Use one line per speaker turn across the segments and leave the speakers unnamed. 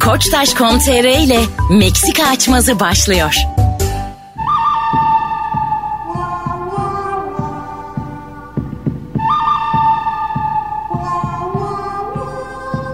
Koçtaş.com.tr ile Meksika açmazı başlıyor.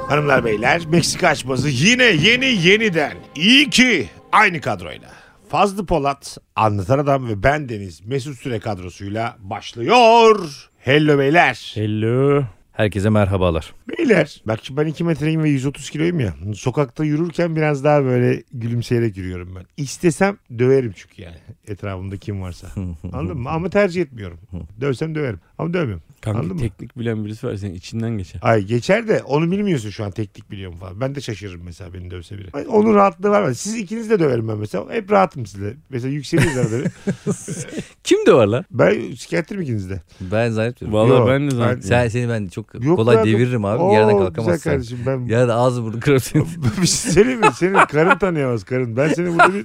Hanımlar beyler Meksika açması yine yeni yeniden. İyi ki aynı kadroyla. Fazlı Polat, Anlatan Adam ve ben Deniz Mesut Süre kadrosuyla başlıyor. Hello beyler.
Hello. Herkese merhabalar.
Beyler. Bak şimdi ben 2 metreyim ve 130 kiloyum ya. Sokakta yürürken biraz daha böyle gülümseyerek yürüyorum ben. İstesem döverim çünkü yani. Etrafımda kim varsa. Anladın mı? Ama tercih etmiyorum. Dövsem döverim. Ama dövmüyorum.
Kanka
Anladın mı?
teknik bilen birisi var senin içinden geçer.
Ay geçer de onu bilmiyorsun şu an teknik biliyor mu falan. Ben de şaşırırım mesela beni dövse biri. Ay, onun rahatlığı var. mı? Siz ikiniz de döverim ben mesela. Hep rahatım sizle. Mesela yükseliyoruz arada. bir.
Kim de var lan?
Ben psikiyatrikim ikiniz de.
Ben zannetmiyorum.
Vallahi
Yok,
ben de
ben-
zaten.
Sen seni ben çok
Yok
kolay
be abi.
deviririm abi.
Oo,
Yerden
Güzel
kalkamazsın.
kardeşim ben...
Ya da ağzı burnu kırarım seni.
bir şey söyleyeyim mi? Senin karın tanıyamaz karın. Ben seni burada bir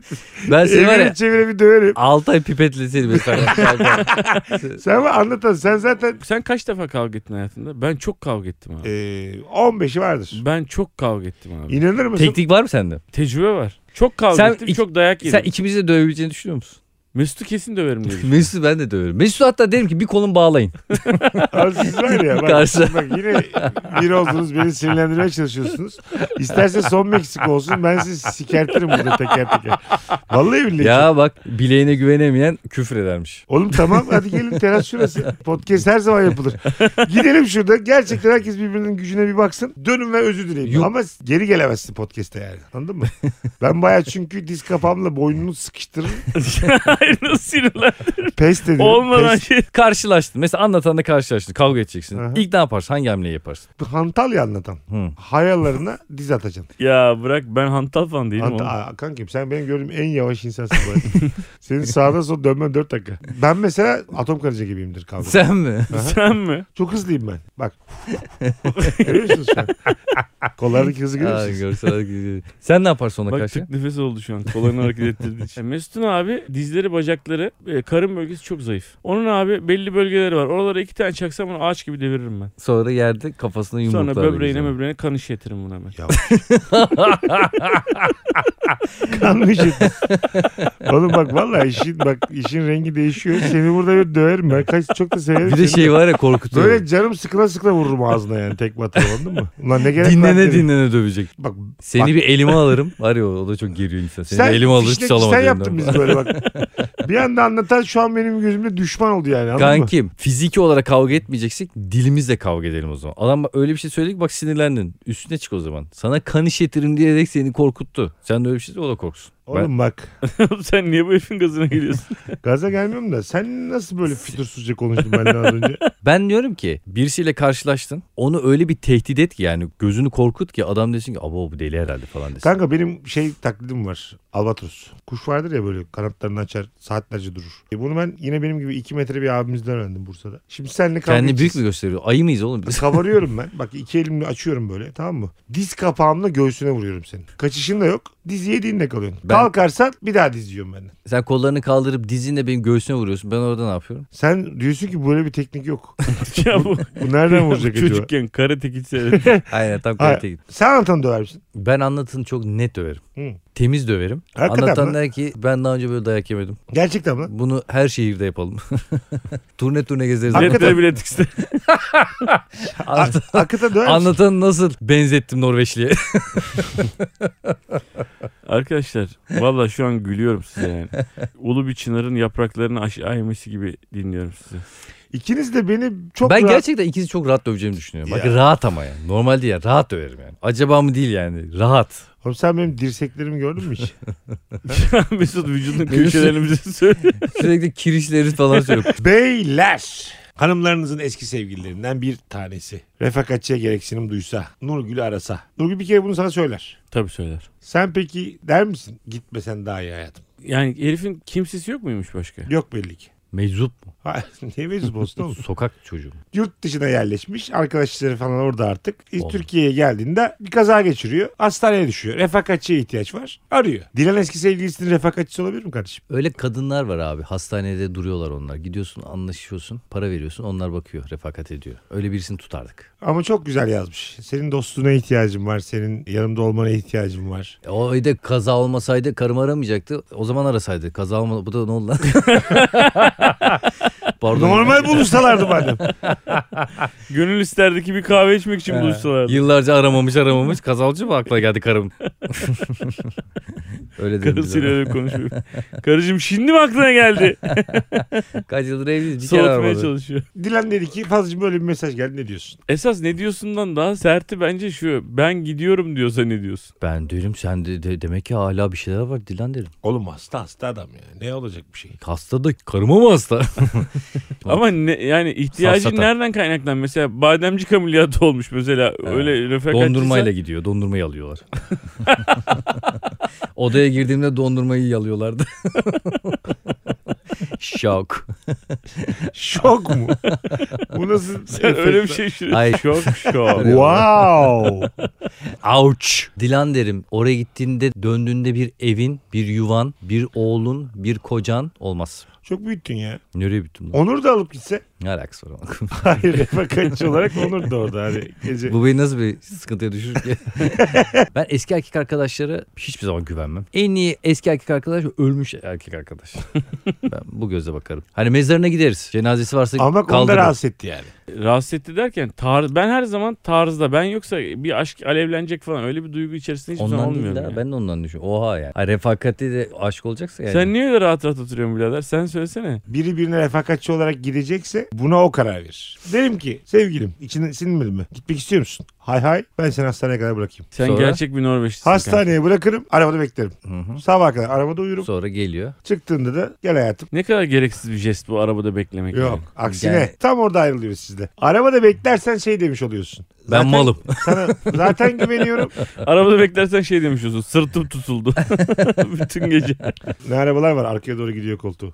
Ben seni var
evine
ya
çevire bir döverim.
6 ay pipetle seni mesela.
Sen bana anlatan sen zaten
Sen kaç defa kavga ettin hayatında? Ben çok kavga ettim abi.
e, 15'i vardır.
Ben çok kavga ettim abi.
İnanır mısın?
Teknik var mı sende?
Tecrübe var. Çok kavga
Sen
ettim,
ik-
çok dayak yedim.
Sen ikimizi de dövebileceğini düşünüyor musun?
Mesut'u kesin döverim diye. düşünüyorum.
Mesut'u ben de döverim. Mesut'u hatta derim ki bir kolun bağlayın.
Abi siz var ya bak,
Karşı.
bak yine bir oldunuz beni sinirlendirmeye çalışıyorsunuz. İsterse son Meksika olsun ben sizi sikertirim burada teker teker. Vallahi billahi.
ya bak bileğine güvenemeyen küfür edermiş.
Oğlum tamam hadi gelin teras şurası. Podcast her zaman yapılır. Gidelim şurada. Gerçekten herkes birbirinin gücüne bir baksın. Dönün ve özür dileyin.
Yok.
Ama geri gelemezsin podcast'te yani. Anladın mı? Ben baya çünkü diz kafamla boynunu sıkıştırırım.
Hayır nasıl sinirler?
Pes dedim.
Olmadan şey.
Karşılaştın. Mesela anlatanla karşılaştın. Kavga edeceksin.
Aha.
İlk ne yaparsın? Hangi hamleyi yaparsın?
Hantal ya anlatan.
Hı.
Hayallarına diz atacaksın.
Ya bırak ben hantal falan değilim
Hatta,
oğlum.
Aa, kankim sen benim gördüğüm en yavaş insansın bu arada. Senin sağdan sola dönmen 4 dakika. Ben mesela atom karınca gibiyimdir kavga.
Sen mi?
Sen mi?
Çok hızlıyım ben. Bak. Görüyor musunuz şu an? Kollardaki hızı görüyor
Aa,
musunuz?
görsel gibi. Sen ne yaparsın ona
Bak
karşı?
tık nefes oldu şu an. Kolayını hareket ettirdiği için. E, Mesut'un abi dizleri, bacakları, e, karın bölgesi çok zayıf. Onun abi belli bölgeleri var. Oralara iki tane çaksam onu ağaç gibi deviririm ben.
Sonra yerde kafasına yumruklar.
Sonra böbreğine
vereceğim.
möbreğine kan işletirim buna ben.
Kanmış et. Oğlum bak vallahi işin bak işin rengi değişiyor. Seni burada bir döverim ben. Kaç çok da severim.
Bir de
seni.
şey var ya korkutuyor.
Böyle canım sıkıla sıkıla vururum ağzına yani tek batıyor anladın mı? Ulan ne gerek var
dinlene
derim.
dinlene dövecek.
Bak
Seni bir elime alırım. Var ya o, o da çok geriyor insan. Seni
sen
bir elime alır
fişnek-
hiç alamadım.
Sen yaptın bizi böyle bak. Bir anda anlatan şu an benim gözümde düşman oldu yani anladın mı?
Kankim fiziki olarak kavga etmeyeceksek dilimizle kavga edelim o zaman. Adam bak öyle bir şey söyledi ki bak sinirlendin. Üstüne çık o zaman. Sana kan işletirim diyerek seni korkuttu. Sen de öyle bir şey söyle, o da korksun.
Oğlum bak
Oğlum Sen niye bu herifin gazına geliyorsun?
gaza gelmiyorum da sen nasıl böyle fütursuzca konuştun benden az önce?
Ben diyorum ki birisiyle karşılaştın. Onu öyle bir tehdit et ki yani gözünü korkut ki adam desin ki abo bu deli herhalde falan desin.
Kanka benim şey taklidim var. Albatros. Kuş vardır ya böyle kanatlarını açar saatlerce durur. E bunu ben yine benim gibi 2 metre bir abimizden öğrendim Bursa'da. Şimdi senle kavga
Kendini büyük
edeceğiz.
mü gösteriyor? Ayı mıyız oğlum biz?
Kabarıyorum ben. Bak iki elimle açıyorum böyle tamam mı? Diz kapağımla göğsüne vuruyorum seni. Kaçışın da yok. Diz yediğinde kalıyorsun.
Ben-
Kalkarsan bir daha diz yiyorum benden.
Sen kollarını kaldırıp dizinle benim göğsüne vuruyorsun. Ben orada ne yapıyorum?
Sen diyorsun ki böyle bir teknik yok.
ya bu
Bu nereden vuracak acaba?
çocukken karate kid seyredip
Aynen tam
Hayır.
karate git.
Sen anlatan döver misin?
Ben anlatını çok net döverim.
Hı.
Temiz döverim.
Hakikaten mi?
Anlatan der ki ben daha önce böyle dayak yemedim.
Gerçekten mi? lan?
Bunu her şehirde yapalım. turne turne gezeriz.
Hakikaten-
bilet bile tiksin.
Anlatan,
Hakikaten döver misin?
anlatanı nasıl benzettim Norveçli'ye?
Arkadaşlar valla şu an gülüyorum size yani. Ulu bir çınarın yapraklarını aşağı inmesi gibi dinliyorum sizi.
İkiniz de beni çok
ben
rahat...
gerçekten ikisi çok rahat döveceğimi düşünüyorum. Bak
Ya.
rahat ama yani. Normal değil yani. Rahat döverim yani. Acaba mı değil yani. Rahat.
Oğlum sen benim dirseklerimi gördün mü hiç?
Mesut vücudun köşelerimizi söylüyor.
Sürekli kirişleri falan söylüyor.
Beyler. Hanımlarınızın eski sevgililerinden bir tanesi. Refakatçiye gereksinim duysa. Nurgül'ü arasa. Nurgül bir kere bunu sana söyler.
Tabii söyler.
Sen peki der misin? Gitmesen daha iyi hayatım.
Yani herifin kimsesi yok muymuş başka?
Yok belli ki.
Meczup mu?
Ha, ne meclis olsun oğlum?
Sokak çocuğu. mu?
Yurt dışına yerleşmiş. Arkadaşları falan orada artık. Biz
Oğlum.
Türkiye'ye geldiğinde bir kaza geçiriyor. Hastaneye düşüyor. Refakatçiye ihtiyaç var. Arıyor. Dilan eski sevgilisinin refakatçisi olabilir mi kardeşim?
Öyle kadınlar var abi. Hastanede duruyorlar onlar. Gidiyorsun anlaşıyorsun. Para veriyorsun. Onlar bakıyor. Refakat ediyor. Öyle birisini tutardık.
Ama çok güzel yazmış. Senin dostluğuna ihtiyacım var. Senin yanımda olmana ihtiyacım var.
E, O evde kaza olmasaydı karım aramayacaktı. O zaman arasaydı. Kaza olma bu da ne oldu lan? Pardon.
Normal buluşsalardı madem.
Gönül isterdi ki bir kahve içmek için
Ee,
buluşsalardı.
Yıllarca aramamış aramamış. Kazalcı mı akla geldi karım? Öyle dedim. bize.
Karısıyla öyle konuşuyor. Karıcığım şimdi mi aklına geldi?
Kaç yıldır evliyiz. Bir kere
Soğutmaya
aramadı.
çalışıyor.
Dilan dedi ki Fazlıcığım böyle bir mesaj geldi ne diyorsun?
Esas ne diyorsundan daha serti bence şu. Ben gidiyorum diyorsa ne diyorsun?
Ben dedim sen de, de- demek ki hala bir şeyler var Dilan dedim.
Oğlum hasta hasta adam ya. Ne olacak bir şey?
Hasta da karıma mı hasta? Tamam.
Ama ne, yani ihtiyacın
Safsata.
nereden kaynaklan? Mesela bademcik ameliyatı olmuş mesela. Öyle refakatçiysen.
Dondurmayla gidiyor. Dondurmayı alıyorlar. Odaya girdiğimde dondurmayı yalıyorlardı. Şok.
Şok mu? Bu nasıl?
Sen öyle bir şey şu.
Ay.
Şok şok.
Wow.
Ouch. Dilan derim oraya gittiğinde döndüğünde bir evin, bir yuvan, bir oğlun, bir kocan olmaz.
Çok büyüttün ya.
Nereye bittim lan?
Onur da alıp gitse.
Ne alakası var?
Hayır refakatçi olarak Onur da orada. Hani gece.
Bu beni nasıl bir sıkıntıya düşürür ki? ben eski erkek arkadaşlara hiçbir zaman güvenmem. En iyi eski erkek arkadaş ölmüş erkek arkadaş. ben bu göze bakarım. Hani mezarına gideriz. Cenazesi varsa
Ama onu da
kaldırırız.
rahatsız etti yani.
Rahatsız etti derken tarz, ben her zaman tarzda. Ben yoksa bir aşk alevlenecek falan öyle bir duygu içerisinde hiçbir zaman
Ondan değil
olmuyorum.
daha,
ya.
ben de ondan düşünüyorum. Oha yani. Ay, refakati de aşk olacaksa yani.
Sen niye öyle rahat rahat oturuyorsun birader? Sen söylesene.
biri birine refakatçi olarak gidecekse buna o karar verir. Derim ki sevgilim içine sinmedi mi? Gitmek istiyor musun? Hay hay ben seni hastaneye kadar bırakayım.
Sen
Sonra?
gerçek bir Norveçlisin. kanka.
Hastaneye bırakırım arabada beklerim.
Hı hı.
Sabah kadar arabada uyurum.
Sonra geliyor.
Çıktığında da gel hayatım.
Ne kadar gereksiz bir jest bu arabada beklemek.
Yok
yani.
aksine
Yani-
tam orada ayrılıyoruz sizde. Arabada beklersen şey demiş oluyorsun.
Ben
Zaten
malım.
Sana zaten güveniyorum.
Arabada beklersen şey demiş olsun. Sırtım tutuldu. Bütün gece.
Ne arabalar var arkaya doğru gidiyor koltuğu.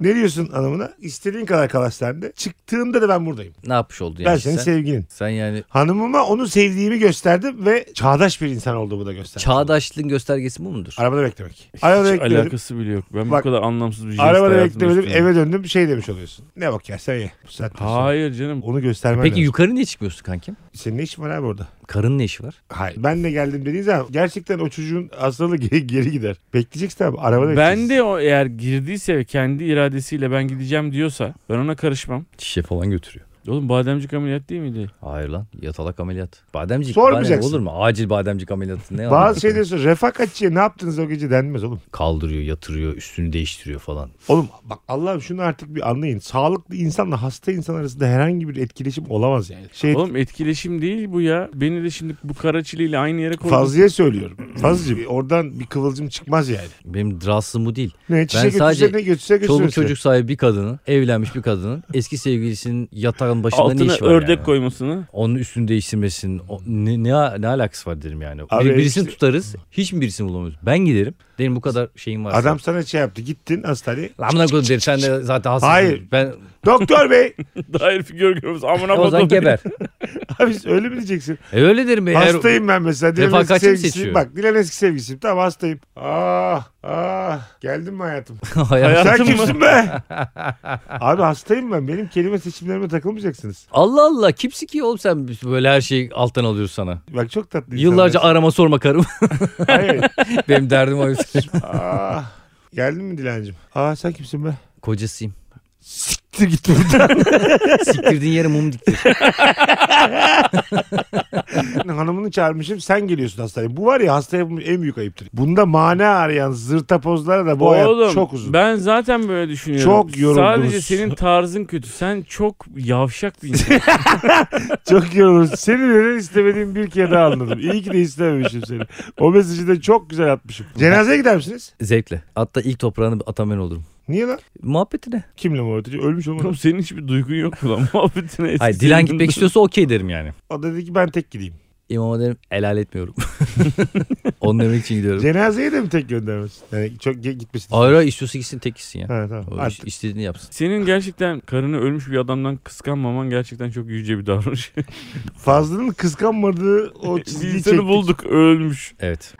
Ne diyorsun hanımına? İstediğin kadar kal hastanede. Çıktığımda da ben buradayım.
ne yapmış oldu
ben
yani
senin
sen?
sevgilin.
sen yani
Hanımıma onu sevdiğimi gösterdim ve çağdaş bir insan olduğumu da gösterdim.
çağdaşlığın göstergesi bu mudur?
Arabada beklemek.
Hiç
Arabada bekledim.
alakası bile yok. Ben
Bak,
bu kadar anlamsız bir jest
Arabada
hayatımda
beklemedim
yaşadım.
eve döndüm şey demiş oluyorsun. Ne bak ya sen ye. Bu saatten sonra.
Hayır canım.
Onu göstermen
Peki
lazım.
yukarı niye çıkmıyorsun kankim?
Senin ne işin var abi orada?
Karın ne işi var?
Hayır. Ben de geldim dediğin zaman gerçekten o çocuğun hastalığı geri, geri gider. Bekleyeceksin abi arabada
Ben
bekleyeceksin.
de o eğer girdiyse ve kendi iradesiyle ben gideceğim diyorsa ben ona karışmam.
Şişe falan götürüyor.
Oğlum bademcik ameliyat değil miydi?
Hayır lan yatalak ameliyat. Bademcik
Sormayacaksın.
badem olur mu? Acil bademcik ameliyatı ne anlamı?
Bazı şey şeyleri sor. Refakatçiye ne yaptınız o gece denmez oğlum.
Kaldırıyor yatırıyor üstünü değiştiriyor falan.
Oğlum bak Allah'ım şunu artık bir anlayın. Sağlıklı insanla hasta insan arasında herhangi bir etkileşim olamaz yani. Şey
Oğlum etkileşim değil bu ya. Beni de şimdi bu karaçiliyle aynı yere koydun.
Fazlı'ya söylüyorum. Fazlıcığım oradan bir kıvılcım çıkmaz yani.
Benim rahatsızlığım bu değil.
Ne çiçek
sadece
götürse ne götürse götürse.
Çoluk çocuk sahibi bir kadının, evlenmiş bir kadının eski sevgilisinin yatağın başında ne
Altına
işi var
ördek
yani?
koymasını.
Onun üstünü değiştirmesinin o- ne, ne, ne alakası var derim yani.
Abi
Bir, birisini
işte-
tutarız. Hiç mi birisini bulamıyoruz? Ben giderim. Derim bu kadar şeyim var.
Adam sana şey yaptı gittin hastaneye.
Lan buna koyayım derim. Sen de zaten hastasın.
Hayır.
Ben
Doktor bey.
Dair figür görmüyoruz. Amına
o zaman
kodum.
geber.
Abi öyle mi diyeceksin?
E öyle derim. Eğer-
Hastayım ben mesela. Dilan eski
Refakatçi mi
sevgilisiyim.
seçiyor?
Bak Dilan eski sevgilisiyim. Tamam hastayım. Ah ah geldin mi hayatım?
Hayat-
Sen
Hayatım mı?
kimsin be? Abi hastayım ben. Benim kelime seçimlerime takılmayacaksınız.
Allah Allah kimsi ki oğlum sen böyle her şeyi alttan alıyorsun sana.
Bak çok tatlı
Yıllarca
insanlar.
arama sorma karım.
Hayır.
Benim derdim o.
Ah. Geldin mi Dilancım? Aa sen kimsin be?
Kocasıyım.
Siktir git buradan.
Siktirdiğin yere mum diktir.
Hanımını çağırmışım sen geliyorsun hastaneye. Bu var ya hastaya bu en büyük ayıptır. Bunda mana arayan zırta pozlara da bu
Oğlum,
hayat çok uzun.
Ben zaten böyle düşünüyorum.
Çok yoruldunuz.
Sadece senin tarzın kötü. Sen çok yavşak bir insan.
Çok yorulur. Seni neden istemediğimi bir kere daha anladım. İyi ki de istememişim seni. O mesajı da çok güzel atmışım. Cenazeye gider misiniz?
Zevkle. Hatta ilk toprağını atan ben olurum.
Niye lan?
Muhabbetine.
Kimle muhabbeti? Ölmüş olmadı.
Oğlum senin hiçbir duygun yok mu lan muhabbetine? eskisi
Hayır Dilan
gibi.
gitmek istiyorsa okey derim yani.
O da dedi ki ben tek gideyim.
İmama derim helal etmiyorum. Onu demek için gidiyorum.
Cenazeye de mi tek göndermesin? Yani çok ge- gitmesin.
Ayrı istiyorsa gitsin tek gitsin ya.
Ha, tamam.
O şey- iş-
Artık.
istediğini yapsın.
Senin gerçekten karını ölmüş bir adamdan kıskanmaman gerçekten çok yüce bir davranış.
Fazlının kıskanmadığı o
Biz
çizgiyi
İnsanı
çektik.
bulduk ölmüş.
Evet.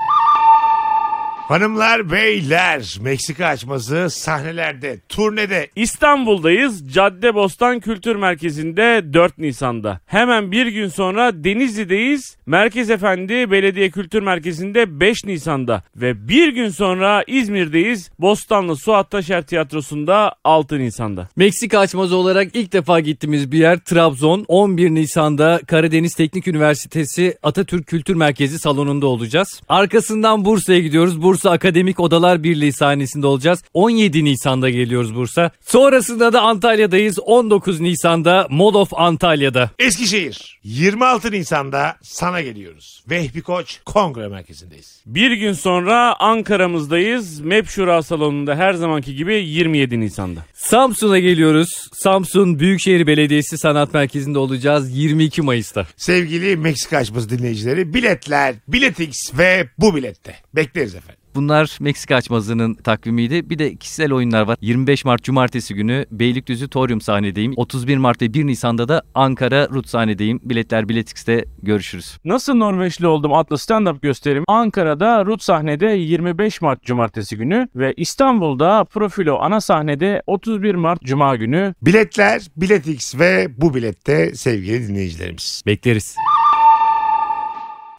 Hanımlar beyler Meksika açması sahnelerde turnede
İstanbul'dayız. Cadde Bostan Kültür Merkezi'nde 4 Nisan'da. Hemen bir gün sonra Denizli'deyiz. Merkez Efendi Belediye Kültür Merkezi'nde 5 Nisan'da. Ve bir gün sonra İzmir'deyiz. Bostanlı Suat Taşer Tiyatrosu'nda 6 Nisan'da.
Meksika açmazı olarak ilk defa gittiğimiz bir yer Trabzon. 11 Nisan'da Karadeniz Teknik Üniversitesi Atatürk Kültür Merkezi salonunda olacağız. Arkasından Bursa'ya gidiyoruz. Bursa Akademik Odalar Birliği sahnesinde olacağız. 17 Nisan'da geliyoruz Bursa. Sonrasında da Antalya'dayız. 19 Nisan'da Mall of Antalya'da.
Eskişehir 26 Nisan'da sana geliyoruz. Vehbi Koç Kongre Merkezi'ndeyiz.
Bir gün sonra Ankara'mızdayız. MEP Şura Salonu'nda her zamanki gibi 27 Nisan'da.
Samsun'a geliyoruz. Samsun Büyükşehir Belediyesi Sanat Merkezi'nde olacağız 22 Mayıs'ta.
Sevgili Meksika açması dinleyicileri biletler, biletix ve bu bilette. Bekleriz efendim.
Bunlar Meksika açmazının takvimiydi. Bir de kişisel oyunlar var. 25 Mart Cumartesi günü Beylikdüzü Torium sahnedeyim. 31 Mart ve 1 Nisan'da da Ankara Rut sahnedeyim. Biletler Biletix'te görüşürüz.
Nasıl Norveçli Oldum adlı stand-up gösterim Ankara'da Rut sahnede 25 Mart Cumartesi günü ve İstanbul'da Profilo ana sahnede 31 Mart Cuma günü.
Biletler, biletix ve bu bilette sevgili dinleyicilerimiz.
Bekleriz.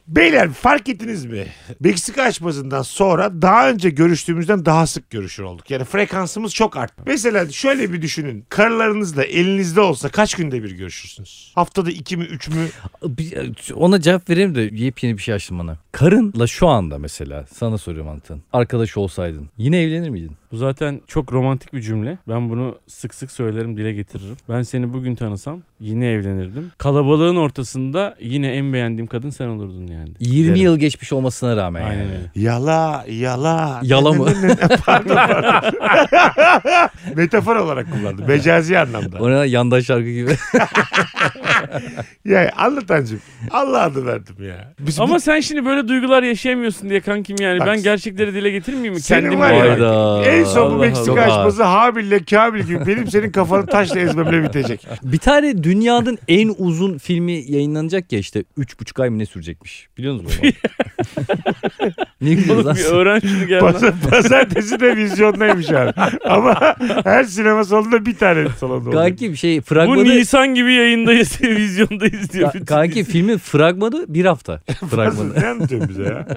Beyler fark ettiniz mi? Meksika açmasından sonra daha önce görüştüğümüzden daha sık görüşür olduk. Yani frekansımız çok arttı. Mesela şöyle bir düşünün. Karılarınızla elinizde olsa kaç günde bir görüşürsünüz? Haftada iki mi üç mü?
Ona cevap vereyim de yepyeni bir şey açtın bana. Karınla şu anda mesela sana soruyorum Antan. Arkadaş olsaydın yine evlenir miydin?
Bu zaten çok romantik bir cümle. Ben bunu sık sık söylerim, dile getiririm. Ben seni bugün tanısam yine evlenirdim. Kalabalığın ortasında yine en beğendiğim kadın sen olurdun yani.
20
Derim.
yıl geçmiş olmasına rağmen yani.
Aynen öyle.
Yala, yala.
Yala mı?
pardon, pardon. Metafor olarak kullandım. Mecazi anlamda.
O ne yandaş şarkı gibi.
Ya anlatancım. Allah adı verdim ya. Biz
Ama sen şimdi böyle duygular yaşayamıyorsun diye kankim yani.
Bak-
ben gerçekleri dile getirmeyeyim mi?
Senin
Kendim
var ya-
olarak.
Hayda.
En son bu
Allah
Meksika
Allah.
açması Habil'le Kabil gibi benim senin kafanı taşla ezmemle bitecek.
Bir tane dünyanın en uzun filmi yayınlanacak ya işte 3,5 ay mı ne sürecekmiş. Biliyor musunuz bunu? ne gülüyoruz
Oğlum
lan?
bir öğren şunu gel lan.
Pazar, pazartesi de vizyondaymış abi. Ama her sinema salonunda bir tane salonda oluyor.
Kanki bir şey
Bu
fragmanı...
Nisan gibi yayındayız, vizyondayız diyor.
Ka- Kanki filmin fragmanı bir hafta.
Nasıl?
fragmanı.
Ne anlatıyorsun bize ya?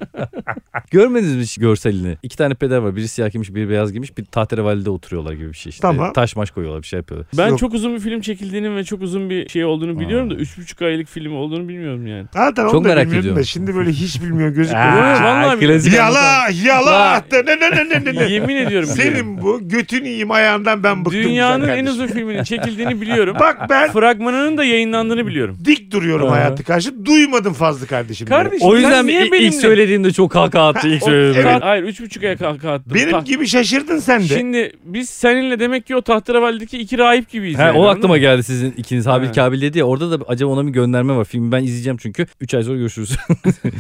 Görmediniz mi hiç görselini? İki tane peder var. Biri siyah giymiş, biri beyaz giymiş. Bir tahterevalide oturuyorlar gibi bir şey işte.
Tamam.
Taş maş koyuyorlar bir şey yapıyorlar.
Ben
Yok.
çok uzun bir film çekildiğini ve çok uzun bir şey olduğunu biliyorum da 3,5 aylık film olduğunu bilmiyorum yani.
Zaten
Çok
onu da
merak
bilmiyordum
ediyorum.
Da. Şimdi böyle hiç bilmiyor
Aa,
gözükmüyor.
vallahi
klasik anlatan-
yala yala. Ne ne ne ne ne ne.
Yemin ediyorum. biliyorum.
Senin bu götün yiyeyim ayağından ben bıktım.
Dünyanın
güzel
en
kardeşim.
uzun filminin çekildiğini biliyorum.
Bak ben
Fragmanının da yayınlandığını biliyorum.
dik duruyorum
Aha.
hayatı karşı. Duymadım fazla kardeşim.
Kardeşim
O
sen
yüzden
niye
ilk,
benimle-
ilk söylediğimde çok kaka attı ilk
O-
söylediğimde.
Evet.
Ka- Hayır üç buçuk aya kaka attım.
Benim
Ta-
gibi şaşırdın sen de.
Şimdi biz seninle demek ki o Tahterevali'deki iki rahip gibiyiz.
He,
yani,
o
anladın
aklıma
mı?
geldi sizin ikiniz Habil
He.
Kabil dedi ya orada da acaba ona bir gönderme var. Filmi ben izleyeceğim çünkü 3 ay sonra görüşürüz.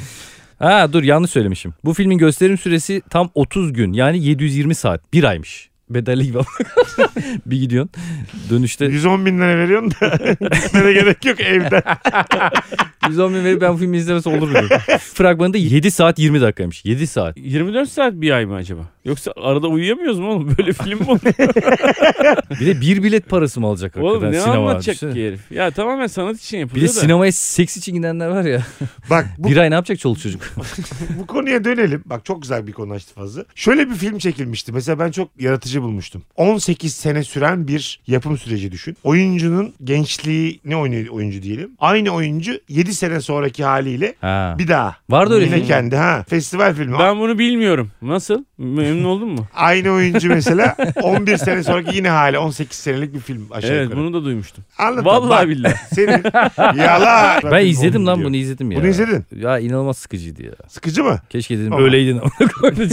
ha dur yanlış söylemişim. Bu filmin gösterim süresi tam 30 gün yani 720 saat 1 aymış. Bedelli gibi ama. bir gidiyorsun dönüşte
110 bin lira veriyorsun da gitmene gerek yok evden.
110 bin verip ben bu filmi izlemesi olur mu? diyorum. Fragmanı da 7 saat 20 dakikaymış 7 saat.
24 saat bir ay mı acaba? Yoksa arada uyuyamıyoruz mu oğlum? Böyle film mi olur?
Bir de bir bilet parası mı alacak hakikaten
oğlum ne
sinema?
anlatacak
Düşünsene.
ki herif? Ya tamamen sanat için
Bir de
yapılıyor da.
sinemaya seks için gidenler var ya.
Bak bu,
Bir ay ne yapacak çoluk çocuk?
bu konuya dönelim. Bak çok güzel bir konu açtı fazla. Şöyle bir film çekilmişti. Mesela ben çok yaratıcı bulmuştum. 18 sene süren bir yapım süreci düşün. Oyuncunun gençliği ne oynuyor oyuncu diyelim. Aynı oyuncu 7 sene sonraki haliyle
Ha.
bir daha.
Vardı öyle
Yine
film.
kendi ha. Festival filmi.
Ben bunu bilmiyorum. Nasıl? Memnun oldun mu?
Aynı oyuncu mesela 11 sene sonraki yine hali 18 senelik bir film aşağı
evet
yukarı.
bunu da duymuştum.
Anladım.
Vallahi
Bak,
billahi.
Senin yala.
Ben izledim lan
Diyor.
bunu izledim ya.
Bunu izledin.
Ya inanılmaz sıkıcıydı ya.
Sıkıcı mı?
Keşke dedim
Ama-
öyleydin ama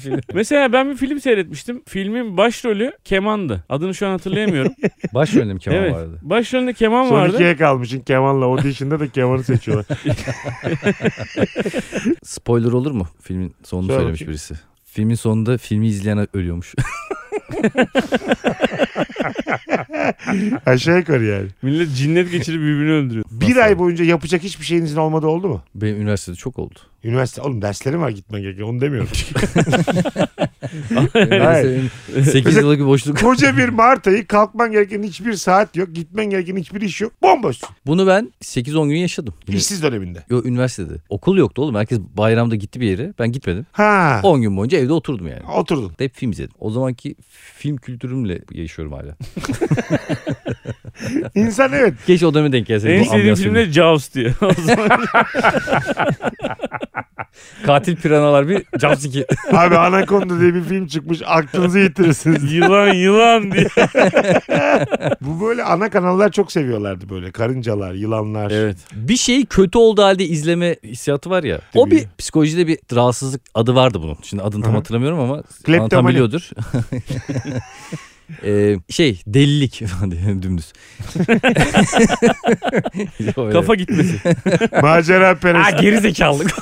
filmi.
Mesela ben bir film seyretmiştim. Filmin başrolü kemandı. Adını şu an hatırlayamıyorum.
Baş önüm Kemal
evet.
vardı.
Başrolünde keman
Son
vardı.
ikiye kalmışsın Kemal'la. Audition'da da Kemal'i seçiyorlar.
Spoiler olur mu? Filmin sonunu
Söyle
söylemiş
bakayım.
birisi. Filmin sonunda filmi izleyen ölüyormuş.
Aşağı yukarı yani.
Millet cinnet geçirip birbirini öldürüyor.
Bir ay boyunca yapacak hiçbir şeyinizin olmadı oldu mu?
Benim üniversitede çok oldu.
Üniversite oğlum derslerim var gitmen gerekiyor onu demiyorum.
Üniversitenin 8 yıllık bir boşluk.
Koca bir Mart ayı kalkman gereken hiçbir saat yok. Gitmen gereken hiçbir iş yok. Bomboşsun.
Bunu ben 8-10 gün yaşadım. Yine-
İşsiz döneminde.
Yo üniversitede. Okul yoktu oğlum. Herkes bayramda gitti bir yere. Ben gitmedim.
Ha.
10 gün boyunca evde oturdum yani.
Oturdun.
Hep film izledim. O zamanki film kültürümle yaşıyorum hala.
İnsan evet.
Keşke o döneme denk gelseydim.
En
bu
sevdiğim
ambiyansın.
film de Jaws diyor. O zaman
Katil piranalar bir jumpscare.
Abi Anaconda diye bir film çıkmış. Aklınızı yitirirsiniz.
yılan yılan diye.
Bu böyle ana kanallar çok seviyorlardı böyle. Karıncalar, yılanlar.
Evet.
bir şeyi kötü olduğu halde izleme hissiyatı var ya. O bir psikolojide bir rahatsızlık adı vardı bunun. Şimdi adını tam
Hı hı.
hatırlamıyorum ama
Kleptomani.
anlatan biliyordur. Ee, şey delilik falan diye dümdüz.
Kafa gitmesi.
Macera perest.
geri zekalık.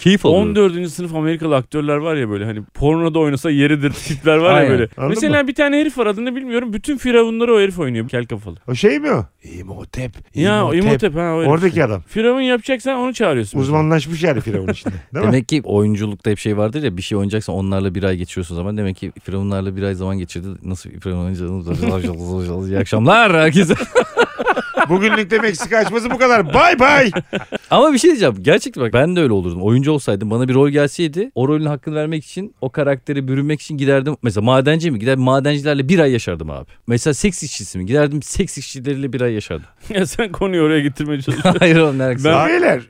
Keyif alıyorum.
14. sınıf Amerikalı aktörler var ya böyle hani pornoda oynasa yeridir tipler var ya
Aynen.
böyle.
Anladın
Mesela bir tane herif var adını bilmiyorum. Bütün firavunları o herif oynuyor. Kel kafalı.
O şey mi o? İmhotep.
Ya İmhotep ha o herif.
Oradaki adam.
Firavun yapacaksan onu çağırıyorsun.
Uzmanlaşmış yani Firavun içinde. Değil mi?
Demek ki oyunculukta hep şey vardır ya bir şey oynayacaksan onlarla bir ay geçiriyorsun o zaman. Demek ki Firavunlarla bir ay zaman geçirdi. Nasıl Firavun oynayacağını İyi akşamlar herkese.
Bugünlük de Meksika açması bu kadar. Bay bay.
Ama bir şey diyeceğim. Gerçekten bak ben de öyle olurdum. Oyuncu olsaydım bana bir rol gelseydi o rolün hakkını vermek için o karakteri bürünmek için giderdim. Mesela madenci mi? Gider madencilerle bir ay yaşardım abi. Mesela seks işçisi mi? Giderdim seks işçileriyle bir ay yaşardım.
Ya sen konuyu oraya getirmeye çalışıyorsun.
Hayır oğlum ne alakası var?
Ben... Beyler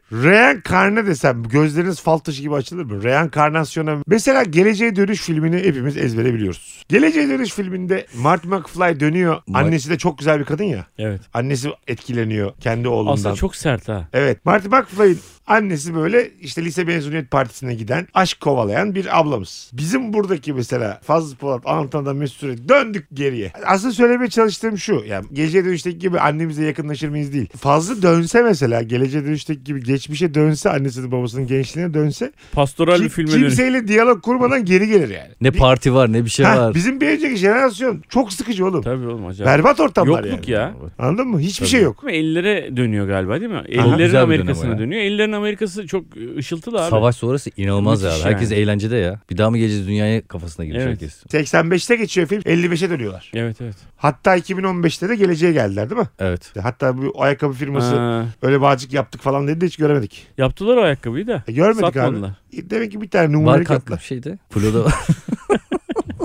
reenkarne desem gözleriniz fal taşı gibi açılır mı? Reenkarnasyona mesela Geleceğe Dönüş filmini hepimiz ezbere biliyoruz. Geleceğe Dönüş filminde Mart McFly dönüyor.
Ma-
Annesi de çok güzel bir kadın ya.
evet.
Annesi etkileniyor kendi oğlundan.
Aslında çok sert ha.
Evet Marty McFly'in annesi böyle işte lise mezuniyet partisine giden aşk kovalayan bir ablamız. Bizim buradaki mesela Fazlı Polat Anlatan da Mesut Süre döndük geriye. Aslında söylemeye çalıştığım şu yani geleceğe dönüşteki gibi annemize yakınlaşır mıyız değil. Fazlı dönse mesela geleceğe dönüşteki gibi geçmişe dönse annesinin babasının gençliğine dönse
Pastoral bir
kim-
filme dönüş.
kimseyle diyalog kurmadan geri gelir yani.
Ne
Bir-
parti var ne bir şey
Ha,
var.
bizim bir önceki jenerasyon çok sıkıcı oğlum.
Tabii oğlum acayip.
Berbat ortamlar
Yokluk
yani.
ya.
Anladın mı? Hiçbir şey yok.
Ama ellere dönüyor galiba değil mi?
Güzel bir
Ellerin
dönem o
Amerikasına
ya.
dönüyor. Ellerin Amerikası çok e, ışıltılı abi.
Savaş sonrası inanılmaz ya.
Müthiş
Herkes
yani.
eğlencede ya. Bir daha mı geleceğiz dünyaya kafasına girmiş
Evet.
herkes.
85'te geçiyor film 55'e dönüyorlar.
Evet evet.
Hatta 2015'te de geleceğe geldiler değil mi?
Evet.
Hatta bu ayakkabı firması
Ha,
öyle bağcık yaptık falan dedi de hiç göremedik.
yaptılar o ayakkabıyı da.
E, görmedik
Satmadılar.
abi. E, Demek ki bir tane
Var
numaralı
katlı
katla.
bir şeydi. Flo'da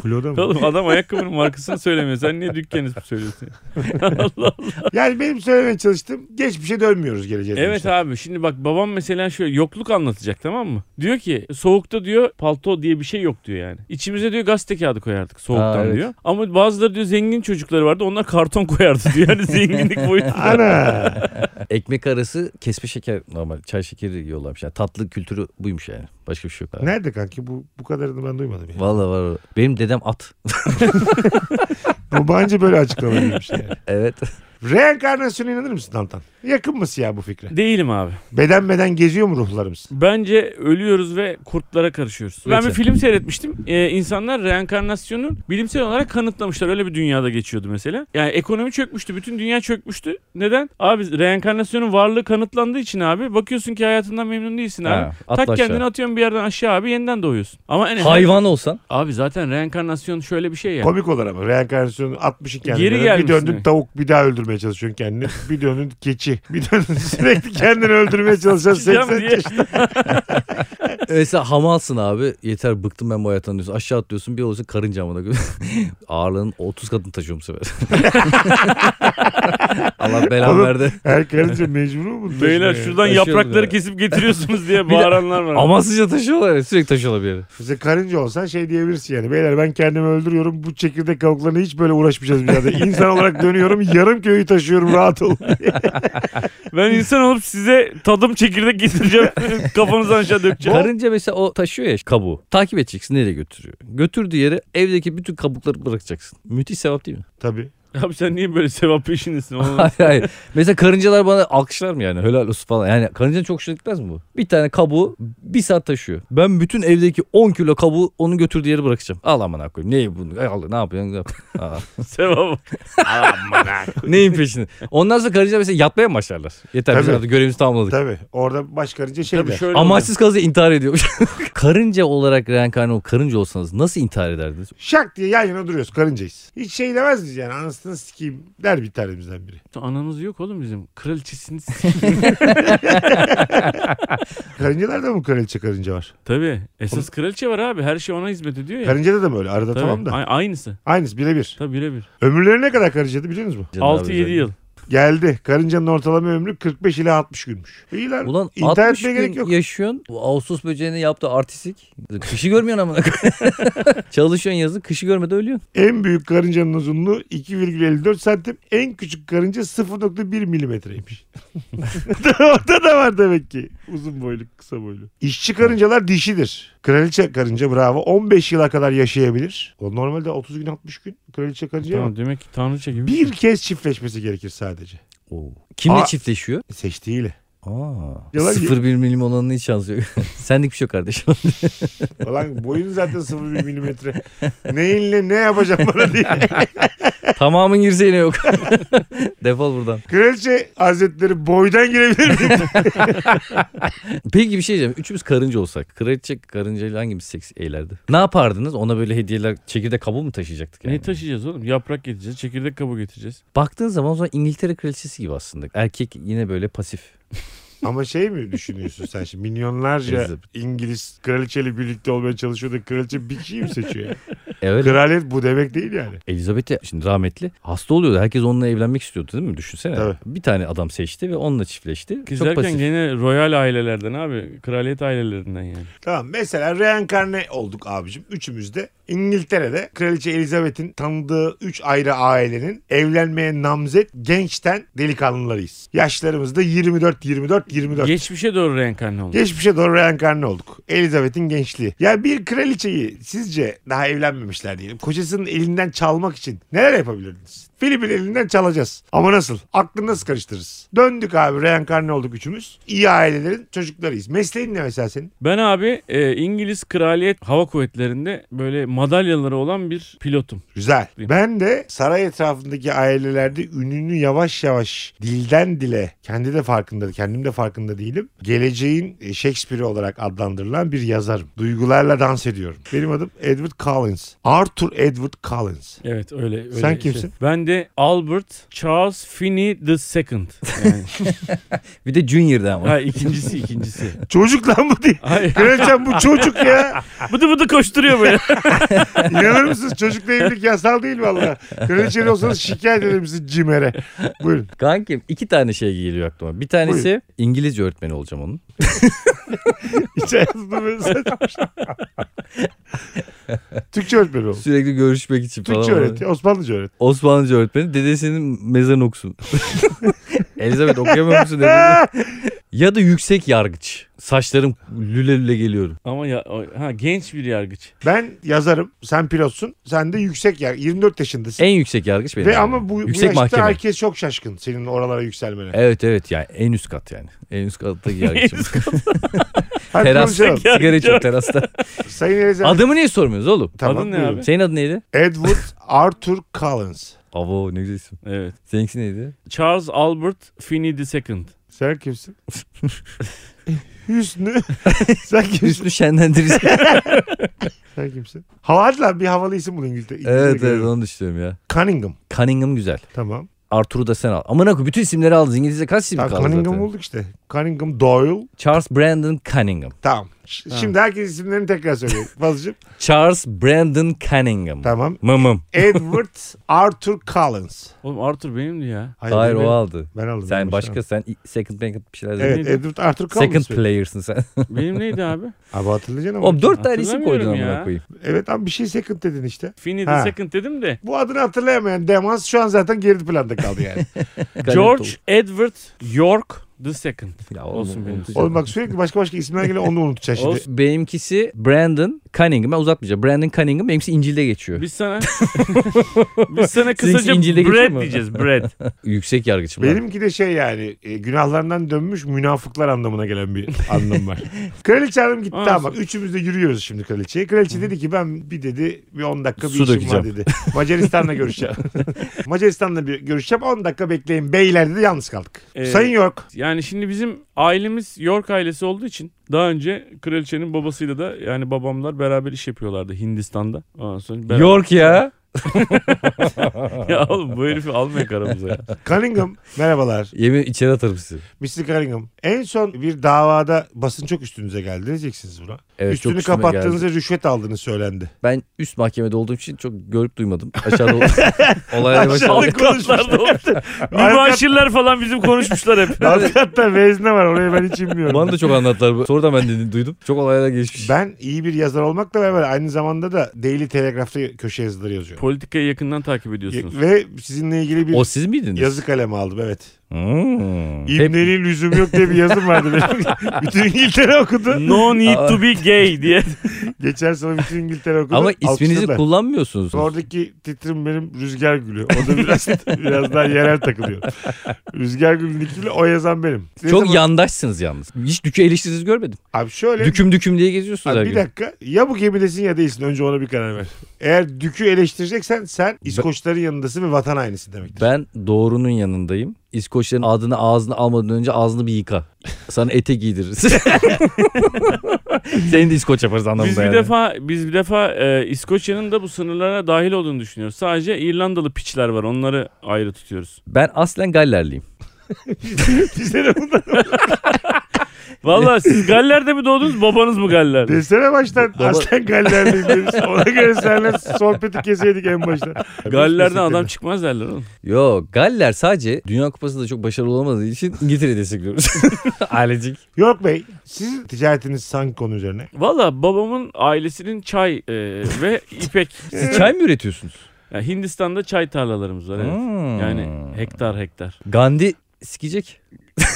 Kloda mı?
Oğlum adam ayakkabının markasını söylemiyor. Sen niye dükkanı söylüyorsun?
yani benim söylemeye çalıştığım geçmişe dönmüyoruz geleceğe.
evet
dönüşte.
abi şimdi bak babam mesela şöyle yokluk anlatacak tamam mı? Diyor ki soğukta diyor palto diye bir şey yok diyor yani. İçimize diyor gazete kağıdı koyardık soğuktan
Aa, evet.
diyor. Ama bazıları diyor zengin çocukları vardı onlar karton koyardı diyor. Yani zenginlik boyutu.
Ana.
ekmek arası kesme şeker normal çay şekeri yiyorlarmış. Yani tatlı kültürü buymuş yani. Başka bir şey yok. abi.
Nerede kanki? Bu, bu kadarını ben duymadım. Yani.
Vallahi var. var. Benim dedem at.
bu bence böyle açıklamalı bir şey. Yani.
evet.
Reenkarnasyona inanır mısın Antan? Yakın mısın ya bu fikre?
Değilim abi.
Beden beden geziyor mu ruhlarımız?
Bence ölüyoruz ve kurtlara karışıyoruz. Ben
Peki.
bir film seyretmiştim. Ee, insanlar reenkarnasyonu bilimsel olarak kanıtlamışlar. Öyle bir dünyada geçiyordu mesela. Yani ekonomi çökmüştü. Bütün dünya çökmüştü. Neden? Abi reenkarnasyonun varlığı kanıtlandığı için abi. Bakıyorsun ki hayatından memnun değilsin abi.
Ha, atla
tak
aşağı.
kendini atıyorsun bir yerden aşağı abi yeniden doğuyorsun. Ama en
Hayvan olsan.
Abi zaten reenkarnasyon şöyle bir şey ya.
Komik olur ama reenkarnasyonu 60'ı kendine.
Geri
bir
gelmişsin
döndün
yani.
tavuk bir daha öldürmeye çalışıyorsun kendini. Bir döndün keçi. Bir döndün sürekli kendini öldürmeye çalışıyorsun.
Gideceğim
80
diye.
Mesela hamalsın abi. Yeter bıktım ben bu hayattan diyorsun. Aşağı atlıyorsun bir olursun karınca amına koyayım. Ağırlığın 30 katını taşıyorum bu sefer. Allah belanı
Oğlum,
verdi.
Her karınca mecbur mu? bunu
Beyler
taşımaya?
şuradan
Taşıyordu
yaprakları
ya.
kesip getiriyorsunuz diye
de-
bağıranlar var.
Amansızca taşıyorlar ya. Sürekli taşıyorlar bir yere.
Mesela karınca olsan şey diyebilirsin yani. Beyler ben kendimi öldürüyorum. Bu çekirdek kavuklarına hiç böyle uğraşmayacağız bir yerde. İnsan olarak dönüyorum. Yarım köyü taşıyorum rahat ol.
Ben insan olup size tadım çekirdek getireceğim. Kafanızdan aşağı dökeceğim.
Karınca mesela o taşıyor ya kabuğu. Takip edeceksin nereye götürüyor. Götürdüğü yere evdeki bütün kabukları bırakacaksın. Müthiş sevap değil mi?
Tabii.
Abi sen niye böyle sevap peşindesin? oğlum?
hayır hayır. Mesela karıncalar bana alkışlar mı yani? Helal olsun falan. Yani karıncanın çok hoşuna gitmez mi bu? Bir tane kabuğu bir saat taşıyor. Ben bütün evdeki 10 kilo kabuğu onun götürdüğü yere bırakacağım. Al amına koyayım. Neyi bunu? Ay Allah ne yapıyorsun? Ne yapıyorsun? Aa.
sevap.
Neyin peşinde? Ondan sonra karıncalar mesela yatmaya mı başlarlar? Yeter biz
Tabii.
artık görevimizi tamamladık.
Tabii orada baş karınca şey
Tabii
der.
şöyle
Amaçsız kalınca intihar ediyormuş. karınca olarak reenkarne ol, karınca olsanız nasıl intihar ederdiniz?
Şak diye yan yana duruyoruz karıncayız. Hiç şey demez biz yani anasını sikeyim der bir tanemizden biri.
oluyor. Anamız yok oğlum bizim. Kraliçesiniz.
Karıncalarda da mı kraliçe karınca var?
Tabii. Esas kraliçe var abi. Her şey ona hizmet ediyor ya.
Karıncada da böyle arada
Tabii.
şey- tamam da.
A- aynısı.
Aynısı birebir.
Tabii birebir.
Ömürleri ne kadar karıncada biliyor musunuz mu?
Canım abi
6-7
özellikle.
yıl.
Geldi. Karıncanın ortalama ömrü 45 ila 60 günmüş. İyi lan.
Ulan
İntihar
60 gün
etmeye gerek yok.
yaşıyorsun. Bu Ağustos böceğini yaptığı artistik. Kışı görmüyorsun amına koyayım. Çalışıyorsun yazın kışı görmede ölüyorsun.
En büyük karıncanın uzunluğu 2,54 santim. En küçük karınca 0,1 milimetreymiş. Orada da var demek ki. Uzun boylu, kısa boylu. İşçi karıncalar dişidir. Kraliçe karınca bravo. 15 yıla kadar yaşayabilir. O normalde 30 gün 60 gün kraliçe karınca
Tamam demek ki tanrıça gibi.
Bir kez çiftleşmesi gerekir sadece.
Kimle
Aa.
çiftleşiyor?
Seçtiğiyle.
Aa.
Yalan-
0,1 milim olanın hiç şansı yok. Sendik bir şey yok kardeşim.
Ulan boyun zaten 0,1 milimetre. Neyinle ne yapacağım bana diye.
Tamamın girse yine yok. Defol buradan.
Kraliçe Hazretleri boydan girebilir mi?
Peki bir şey diyeceğim. Üçümüz karınca olsak. Kraliçe karıncayla hangimiz seks eğlerdi? Ne yapardınız? Ona böyle hediyeler çekirdek kabuğu mu taşıyacaktık yani?
Ne taşıyacağız oğlum? Yaprak getireceğiz, çekirdek kabuğu getireceğiz.
Baktığın zaman o zaman İngiltere kraliçesi gibi aslında. Erkek yine böyle pasif.
Ama şey mi düşünüyorsun sen şimdi? Milyonlarca
Elizabeth.
İngiliz kraliçeyle birlikte olmaya çalışıyor da kraliçe bir kişiyi mi seçiyor? yani?
Evet.
Kraliyet bu demek değil yani.
Elizabeth de şimdi rahmetli hasta oluyordu. Herkes onunla evlenmek istiyordu değil mi? Düşünsene.
Tabii.
Bir tane adam seçti ve onunla çiftleşti.
Kız
Çok
derken
pasif.
gene royal ailelerden abi. Kraliyet ailelerinden yani.
Tamam mesela reenkarne olduk abicim. Üçümüz de İngiltere'de kraliçe Elizabeth'in tanıdığı üç ayrı ailenin evlenmeye namzet gençten delikanlılarıyız. Yaşlarımız da 24, 24, 24.
Geçmişe doğru reenkarne oldu.
Geçmişe doğru reenkarne olduk. Elizabeth'in gençliği. Ya bir kraliçeyi sizce daha evlenmemişler diyelim. Kocasının elinden çalmak için neler yapabilirdiniz? Filip'in elinden çalacağız. Ama nasıl? Aklını nasıl karıştırırız? Döndük abi reenkarne olduk üçümüz. İyi ailelerin çocuklarıyız. Mesleğin ne mesela senin?
Ben abi e, İngiliz Kraliyet Hava Kuvvetleri'nde böyle madalyaları olan bir pilotum.
Güzel. Ben de saray etrafındaki ailelerde ününü yavaş yavaş dilden dile kendi de farkında kendim de farkında değilim. Geleceğin e, Shakespeare'i olarak adlandırılan bir yazarım. Duygularla dans ediyorum. Benim adım Edward Collins. Arthur Edward Collins.
Evet öyle. öyle
Sen
şey.
kimsin?
Ben de Albert Charles Finney II. Yani.
Bir de Junior'da ama.
ha, ikincisi ikincisi.
Çocuk lan bu değil.
Hayır.
Kraliçem bu çocuk ya.
Bıdı bıdı koşturuyor böyle.
İnanır mısınız? Çocukla evlilik yasal değil valla. Kraliçeli olsanız şikayet eder misiniz Cimer'e? Buyurun.
Kankim iki tane şey geliyor aklıma. Bir tanesi
Buyur.
İngilizce öğretmeni olacağım onun.
Hiç hayatımda böyle saçma şey. Türkçe öğretmeni ol.
Sürekli görüşmek için falan.
Türkçe öğret. ya, Osmanlıca öğret.
Osmanlıca öğretmeni dedesinin mezarını okusun. Elizabeth okuyamıyor musun dedi. ya da yüksek yargıç. Saçlarım lüle lüle geliyorum.
Ama ya, o- ha, genç bir yargıç.
Ben yazarım. Sen pilotsun. Sen de yüksek yer. 24 yaşındasın.
En yüksek yargıç benim.
Ve
yani.
ama bu, bu
yüksek
yaşta
mahkeme. E,
herkes çok şaşkın senin oralara yükselmene.
Evet evet yani en üst kat yani. En üst kattaki yargıçım.
Hadi
Teras.
konuşalım.
Sigara içiyor terasta.
Sayın Elizabeth.
Adımı niye sormuyoruz oğlum?
Tamam,
Adın ne
buyurun.
abi?
Senin adın neydi?
Edward Arthur Collins.
Avo ne güzel isim.
Evet.
Seninkisi neydi?
Charles Albert Finney II.
Sen kimsin? Hüsnü. Sen kimsin?
Hüsnü şenlendirici.
Sen kimsin? Havalı lan bir havalı isim bul İngilizce. İngilizce
evet evet
görüyorum.
onu düşünüyorum ya.
Cunningham.
Cunningham güzel.
Tamam.
Arthur'u da sen al. Amına koyayım bütün isimleri aldınız. İngilizce kaç isim
Tamam
kaldı
Cunningham
zaten?
bulduk işte. Cunningham Doyle.
Charles Brandon Cunningham.
Tamam. Ş- Şimdi herkes isimlerini tekrar söylüyor. Fazlacığım.
Charles Brandon Cunningham.
tamam.
Mımım.
Edward Arthur Collins.
Oğlum Arthur benimdi ya.
Hayır
ben-
o aldı.
Ben aldım.
Sen
yanlış
başka
aldım.
sen i- second bank bir şeyler dedin.
Evet Edward Arthur Collins.
Second players'ın sen.
Benim neydi abi?
Abi hatırlayacaksın ama.
Oğlum dört tane isim koydun
Hatırlamıyorum ya.
amına koyayım.
Evet abi bir şey second dedin işte.
Finney
Ha.
II dedim de.
Bu adını hatırlayamayan Demans şu an zaten geri planda kaldı yani.
George Edward York II.
Ya
Olsun benim.
unutacağım.
Oğlum bak sürekli başka başka isimler geliyor onu unutacaksın şimdi.
Olsun. Benimkisi Brandon Cunningham ben uzatmayacağım. Brandon Cunningham benimkisi İncil'de geçiyor.
Biz sana biz sana
Sizinkisi
kısaca
İncil'de geçiyor
bread
mu?
diyeceğiz bread.
Yüksek yargıçım. ben.
Benimki de şey yani e, günahlarından dönmüş münafıklar anlamına gelen bir anlam var. Kraliçe hanım gitti
Anasını.
ama üçümüz de yürüyoruz şimdi kraliçeye. Kraliçe dedi ki ben bir dedi bir 10 dakika bir
Su
işim
dökeceğim.
var dedi. Macaristan'la görüşeceğim. Macaristan'la bir görüşeceğim 10 dakika bekleyin beyler dedi yalnız kaldık.
Ee,
Sayın York
Yani şimdi bizim ailemiz York ailesi olduğu için daha önce kraliçenin babasıyla da yani babamlar beraber iş yapıyorlardı Hindistan'da. Ondan sonra beraber-
York ya.
ya oğlum bu herifi almayın aramıza ya.
Cunningham merhabalar.
Yemin içeri atarım sizi.
Mr. Cunningham en son bir davada basın çok üstünüze geldi Ne diyeceksiniz buna.
Evet, çok
Üstünü
üstüme
kapattığınızda
geldi.
rüşvet aldığınız söylendi.
Ben üst mahkemede olduğum için çok görüp duymadım. Aşağıda ol- olaylara başladım.
Aşağıda konuşmuşlar.
Mübaşirler falan bizim konuşmuşlar hep.
Hatta vezne var oraya ben hiç inmiyorum.
Bana da çok anlattılar. bu. Sonra da ben dedi- duydum. Çok olaylara geçmiş.
Ben iyi bir yazar olmakla beraber aynı zamanda da Daily Telegraph'ta köşe yazıları yazıyorum.
Politikayı yakından takip ediyorsunuz.
Ve sizinle ilgili bir
O siz miydiniz?
yazı kalemi aldım evet.
Hmm. Hep
İbneliğin lüzum yok diye bir yazım vardı benim. bütün İngiltere okudu.
No need to be gay diye.
Geçen sene bütün İngiltere okudu.
Ama isminizi
Alkışladılar.
kullanmıyorsunuz.
Oradaki titrim benim Rüzgar Gülü. O da biraz, biraz daha yerel takılıyor. Rüzgar Gülü'nün ikili o yazan benim. Ne
Çok
zaman-
yandaşsınız yalnız. Hiç dükü eleştiriniz görmedim.
Abi şöyle.
Düküm düküm diye geziyorsunuz her
Abi bir
gün.
dakika. Ya bu gemidesin ya değilsin. Önce ona bir karar ver. Eğer dükü eleştireceksen sen İskoçların yanındasın ve vatan aynısı demektir.
Ben doğrunun yanındayım. İskoçların adını ağzına almadan önce ağzını bir yıka. Sana ete giydiririz. Seni de İskoç yaparız anlamında
Biz bir
yani.
defa biz bir defa e, İskoçya'nın da bu sınırlara dahil olduğunu düşünüyoruz. Sadece İrlandalı piçler var. Onları ayrı tutuyoruz.
Ben aslen Gallerliyim.
Bize de bundan
Vallahi siz Galler'de mi doğdunuz, babanız mı Galler'de?
Desene baştan
Baba-
aslen Galler'deyim demiş. Ona göre seninle sohbeti keseydik en baştan.
Galler'den adam çıkmaz derler oğlum.
Yo Galler sadece Dünya Kupası'nda çok başarılı olamadığı için İngiltere'yi destekliyoruz. Ailecik.
Yok bey sizin ticaretiniz sanki konu üzerine.
Valla babamın ailesinin çay e, ve ipek.
Siz çay mı üretiyorsunuz?
Ya Hindistan'da çay tarlalarımız var. Evet.
Hmm.
Yani hektar hektar.
Gandhi sikecek.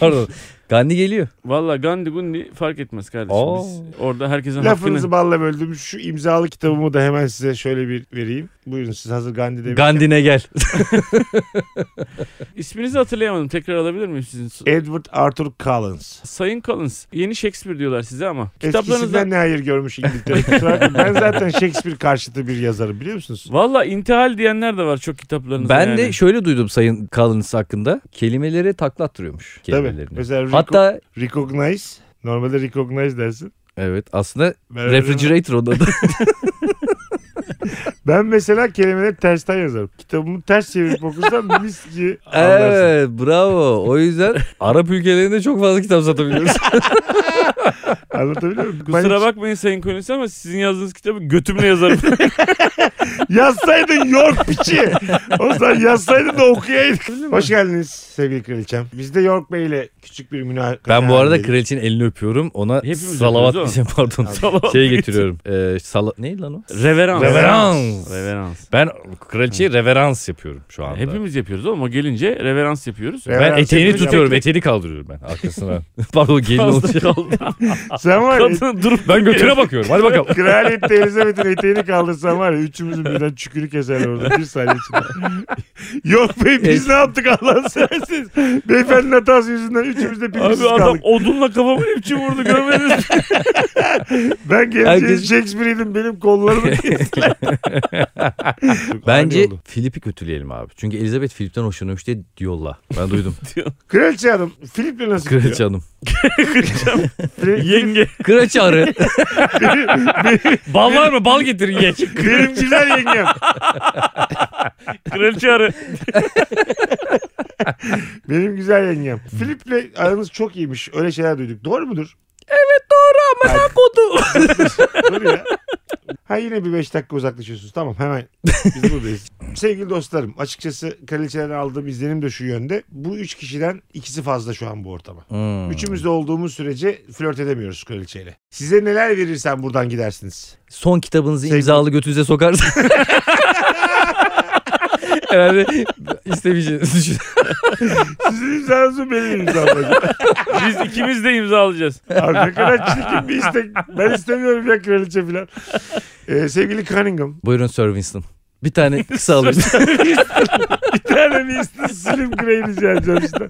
Pardon. Gandhi geliyor.
Valla Gandhi Gundi fark etmez kardeşim.
Oo.
Biz orada herkesin
Lafınızı
hakkını...
balla böldüm. Şu imzalı kitabımı da hemen size şöyle bir vereyim. Buyurun siz hazır Gandhi demiş.
Gandhi'ne gel.
İsminizi hatırlayamadım. Tekrar alabilir miyim sizin?
E-
Edward Arthur Collins.
Sayın Collins. Yeni Shakespeare diyorlar size ama. Kitaplarınızda
Eskisinden ne hayır görmüş İngiltere. Kusura bakmayın. ben zaten Shakespeare karşıtı bir yazarım biliyor musunuz?
Valla intihal diyenler de var çok kitaplarınızda.
Ben
yani.
de şöyle duydum Sayın Collins hakkında. Kelimeleri takla attırıyormuş.
Tabii.
Kelimelerini.
Mesela reco-
Hatta
recognize. Normalde recognize dersin.
evet aslında
Ben-
refrigerator onun adı.
Ben mesela kelimeleri tersten yazarım. Kitabımı ters çevirip okursam mis gibi anlarsın.
evet bravo. O yüzden Arap ülkelerinde çok fazla kitap satabiliyoruz.
Anlatabiliyor muyum? Ben
Kusura bakmayın Sayın Collins ama sizin yazdığınız kitabı götümle yazarım.
Yazsaydın York piçi. O zaman yazsaydın da okuyaydın. Hoş geldiniz sevgili kraliçem. Biz de York Bey ile küçük bir münakat.
ben bu arada kraliçenin elini öpüyorum. Ona
Hepimiz
salavat
öpüyoruz
diyeceğim pardon.
Salavat
şey getiriyorum. Ee, sala... Neydi lan o?
Reverans.
Reverans.
Reverans.
Ben kraliçeye reverans yapıyorum şu anda.
Hepimiz yapıyoruz oğlum. O gelince reverans yapıyoruz.
Ben eteğini
yapacağım.
tutuyorum. Eteğini kaldırıyorum ben arkasına. pardon gelin
Fazla
olacak.
kaldı.
Sen var ya.
Kadın durup
Ben götüne bakıyorum. Hadi bakalım.
Kraliyet Elizabeth'in eteğini kaldırsan var ya üçümüzün birden çükürü keserler orada bir saniye içinde. Yok bey biz ne yaptık Allah'ını seversiniz. Beyefendinin hatası yüzünden üçümüz de
Abi
birbirimiz
adam
kaldık.
odunla kafamı hepçi vurdu görmediniz mi?
Ben gelince
Herkes-
Shakespeare'ydim benim kollarımı kestiler. Ani
Bence
oldu.
Filip'i kötüleyelim abi. Çünkü Elizabeth Filip'ten hoşlanıyormuş diye yolla. Ben duydum.
Kraliçe hanım Filip'le nasıl gidiyor?
Kraliçe hanım.
Filip-
Yenge.
Kraliçe arı. Bal var mı? Bal getirin ye.
Benim güzel yengem.
Kraliçe arı.
Benim güzel yengem. Filip'le aranız çok iyiymiş. Öyle şeyler duyduk. Doğru mudur?
Kodu.
Doğru ya. Ha yine bir beş dakika uzaklaşıyorsunuz. Tamam hemen biz buradayız. Sevgili dostlarım açıkçası kraliçeden aldığım izlenim de şu yönde. Bu üç kişiden ikisi fazla şu an bu ortama.
Hmm.
Hmm.
Üçümüz de olduğumuz sürece flört edemiyoruz kraliçeyle. Size neler verirsen buradan gidersiniz.
Son kitabınızı
Sevgili-
imzalı götünüze sokarsın. Herhalde istemeyeceğini düşün.
Sizin imzanızı benim imzam.
Biz ikimiz de imzalayacağız.
Abi ne kadar çirkin bir istek. Ben istemiyorum ya kraliçe falan. Ee, sevgili Cunningham.
Buyurun Sir Winston. Bir tane kısa alayım.
Bir tane bir istek Slim Grey rica edeceğim işte.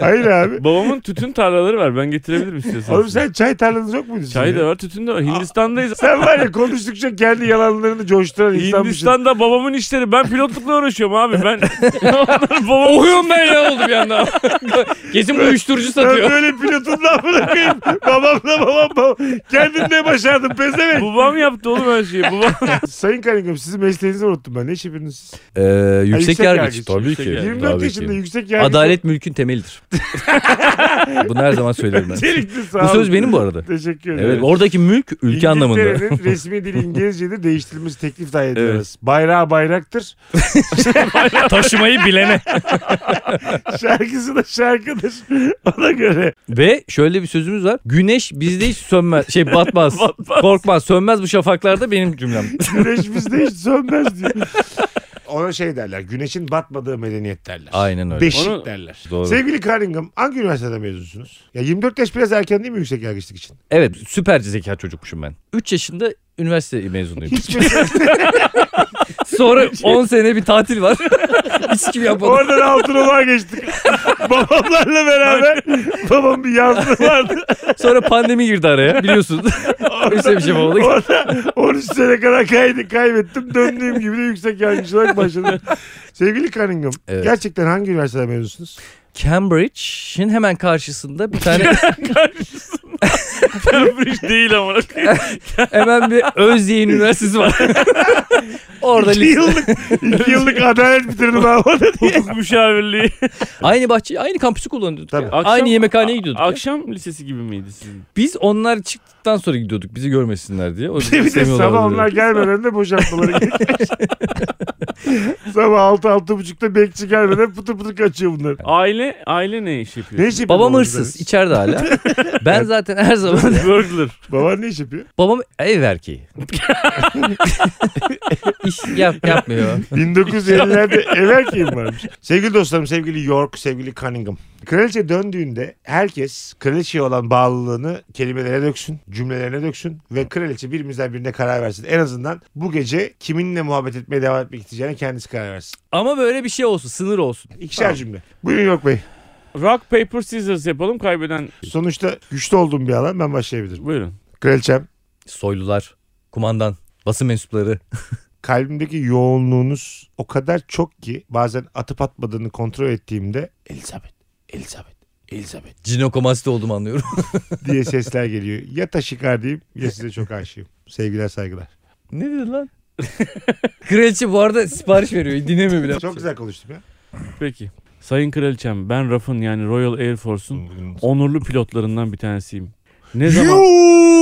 Hayır abi.
Babamın tütün tarlaları var. Ben getirebilirim istiyorsan.
Oğlum sen çay tarlanız yok muydu?
Çay
sizin
da
ya?
var, tütün de var. Hindistan'dayız.
Sen var ya konuştukça kendi yalanlarını coşturan insanmışsın.
Hindistan'da babamın işleri. Ben pilotlukla uğraşıyorum abi. Ben onların babamın... Okuyorum ben ya oldu bir anda.
Kesin uyuşturucu
Ben böyle pilotumdan bırakayım. Babamla babam babam. Kendim ne başardım pezevenk.
Babam yaptı oğlum her şeyi. Babam...
Sayın Cunningham sizin mesleğinizi unuttum ben. Ne iş yapıyorsunuz siz?
Ee, yüksek,
Yüksek
yargıç.
yargıç.
Tabii
Yüksek
ki.
yargıç.
24
tabii
yaşında
ki.
yüksek yargı.
Adalet mülkün temelidir. Bunu her zaman söylerim ben.
Çelikli sağ
Bu söz
olun.
benim bu arada.
Teşekkür ederim.
Evet, oradaki mülk ülke anlamında.
İngiltere'nin resmi dili İngilizce'de değiştirilmesi teklif dahi ediyoruz.
Evet.
Bayrağı bayraktır.
Taşımayı bilene.
Şarkısı da şarkıdır. Ona göre.
Ve şöyle bir sözümüz var. Güneş bizde hiç sönmez, şey batmaz. Korkmaz, sönmez bu şafaklarda benim cümlem.
Güneş bizde hiç sönmez diyor. Ona şey derler. Güneşin batmadığı medeniyet derler.
Aynen öyle.
Beşik
Onu-
derler.
Doğru.
Sevgili Cunningham hangi üniversiteden mezunsunuz? Ya 24 yaş biraz erken değil mi yüksek yargıçlık için?
Evet, süper zeka çocukmuşum ben. 3 yaşında üniversite mezunuyum.
Hiç mesela
Sonra 10 sene bir tatil var. Hiç kim yapmadı.
oradan altın olağa geçtik. Babamlarla beraber babam bir yazlığı vardı.
Sonra pandemi girdi araya biliyorsun. Öyle bir şey oldu.
Orada 13 sene kadar kaydı, kaybettim. Döndüğüm gibi de yüksek yargıç olarak başladım. Sevgili Cunningham
Evet.
gerçekten hangi üniversiteden mezunsunuz?
Cambridge'in hemen karşısında bir tane
Cambridge değil ama.
hemen bir Özyeğin Üniversitesi var. Orada
İki
lise-
yıllık, iki yıllık adalet bitirdim ben orada diye.
Hukuk müşavirliği.
aynı bahçeyi, aynı kampüsü kullanıyorduk.
Tabii.
ya.
Akşam-
aynı yemekhaneye gidiyorduk. ya.
Akşam lisesi gibi miydi sizin?
Biz onlar çıktıktan sonra gidiyorduk bizi görmesinler diye. O
Bir de sabah onlar gelmeden de boşaltmaları gerekiyor. sabah 6 altı buçukta bekçi gelmeden pıtır pıtır kaçıyor bunlar.
Aile aile ne iş yapıyor?
iş yapıyor
Babam
babanız
hırsız içeride hala. Ben zaten her zaman
Burglar.
benim? Baban ne iş yapıyor?
babam ev erkeği. İş yap, yapmıyor.
1950'lerde ev erkeğim varmış. Sevgili dostlarım, sevgili York, sevgili Cunningham. Kraliçe döndüğünde herkes kraliçeye olan bağlılığını kelimelere döksün, cümlelerine döksün ve kraliçe birimizden birine karar versin. En azından bu gece kiminle muhabbet etmeye devam etmek isteyeceğine kendisi karar versin.
Ama böyle bir şey olsun sınır olsun.
İkişer cümle. Buyurun York Bey.
Rock paper scissors yapalım kaybeden.
Sonuçta güçlü olduğum bir alan ben başlayabilirim.
Buyurun.
Kraliçem
Soylular, kumandan, basın mensupları.
kalbimdeki yoğunluğunuz o kadar çok ki bazen atıp atmadığını kontrol ettiğimde Elizabeth, Elizabeth, Elizabeth
Cinokomasti olduğumu anlıyorum.
diye sesler geliyor. Ya taşikar diyeyim ya size çok aşığım. Sevgiler saygılar.
ne dedi lan? Kraliçe bu arada sipariş veriyor. Dinlemiyor bile.
Çok güzel konuştum ya.
Peki. Sayın Kraliçem ben RAF'ın yani Royal Air Force'un onurlu pilotlarından bir tanesiyim. Ne zaman...
Yuuu!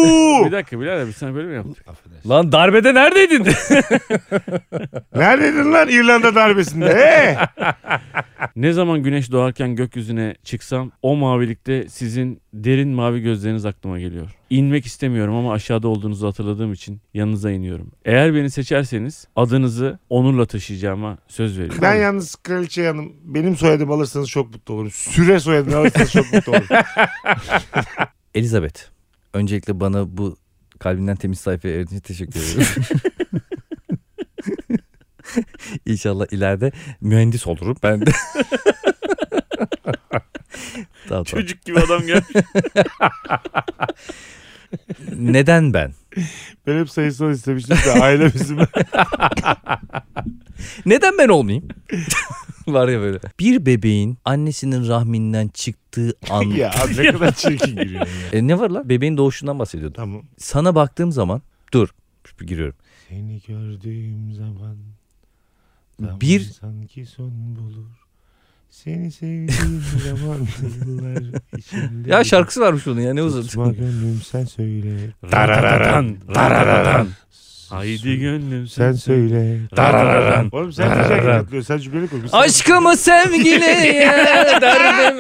bir dakika birader biz sana böyle mi yaptık?
Affedersin.
Lan darbede neredeydin?
Neredeydin lan İrlanda darbesinde? Ee?
Ne zaman güneş doğarken gökyüzüne çıksam o mavilikte sizin derin mavi gözleriniz aklıma geliyor. İnmek istemiyorum ama aşağıda olduğunuzu hatırladığım için yanınıza iniyorum. Eğer beni seçerseniz adınızı onurla taşıyacağıma söz veriyorum.
Ben yalnız kraliçe hanım benim soyadımı alırsanız çok mutlu olurum. Süre soyadını alırsanız çok mutlu olurum.
Elizabeth. Öncelikle bana bu kalbinden temiz sayfaya erdiğin için teşekkür ederim. İnşallah ileride mühendis olurum ben de. Tamam, tamam.
Çocuk gibi adam gelmiş.
Neden ben?
Ben hep sayısal istemiştim de aile bizim.
Neden ben olmayayım? Var ya böyle. Bir bebeğin annesinin rahminden çıktığı an.
ya abi ne kadar çirkin giriyor. ya.
E, ne var lan? Bebeğin doğuşundan bahsediyordum.
Tamam.
Sana baktığım zaman dur giriyorum.
Seni gördüğüm zaman zaman
Bir-
sanki son bulur. Seni sevdiğim zaman yıllar içinde.
Ya şarkısı varmış bunun ya ne uzun.
Tutma gönlüm sen söyle.
Dararadan, dararadan. Haydi gönlüm
Sen söyle.
Darararan.
Oğlum sen güzel yaratılıyor. Sen cümleleri kurmuşsun.
Aşkımı sevgiliye derdim.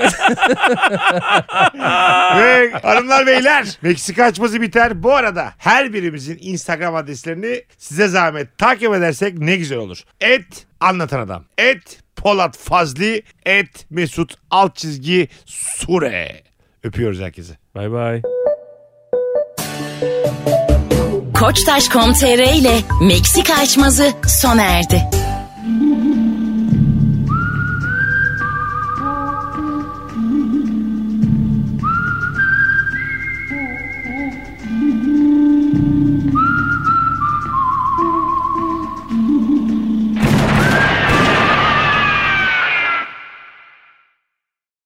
Ve hanımlar beyler Meksika açması biter. Bu arada her birimizin Instagram adreslerini size zahmet takip edersek ne güzel olur. Et anlatan adam. Et Polat Fazli. Et Mesut alt çizgi Sure. Öpüyoruz herkese.
Bay bay.
Koçtaş.com.tr ile Meksika açmazı sona erdi.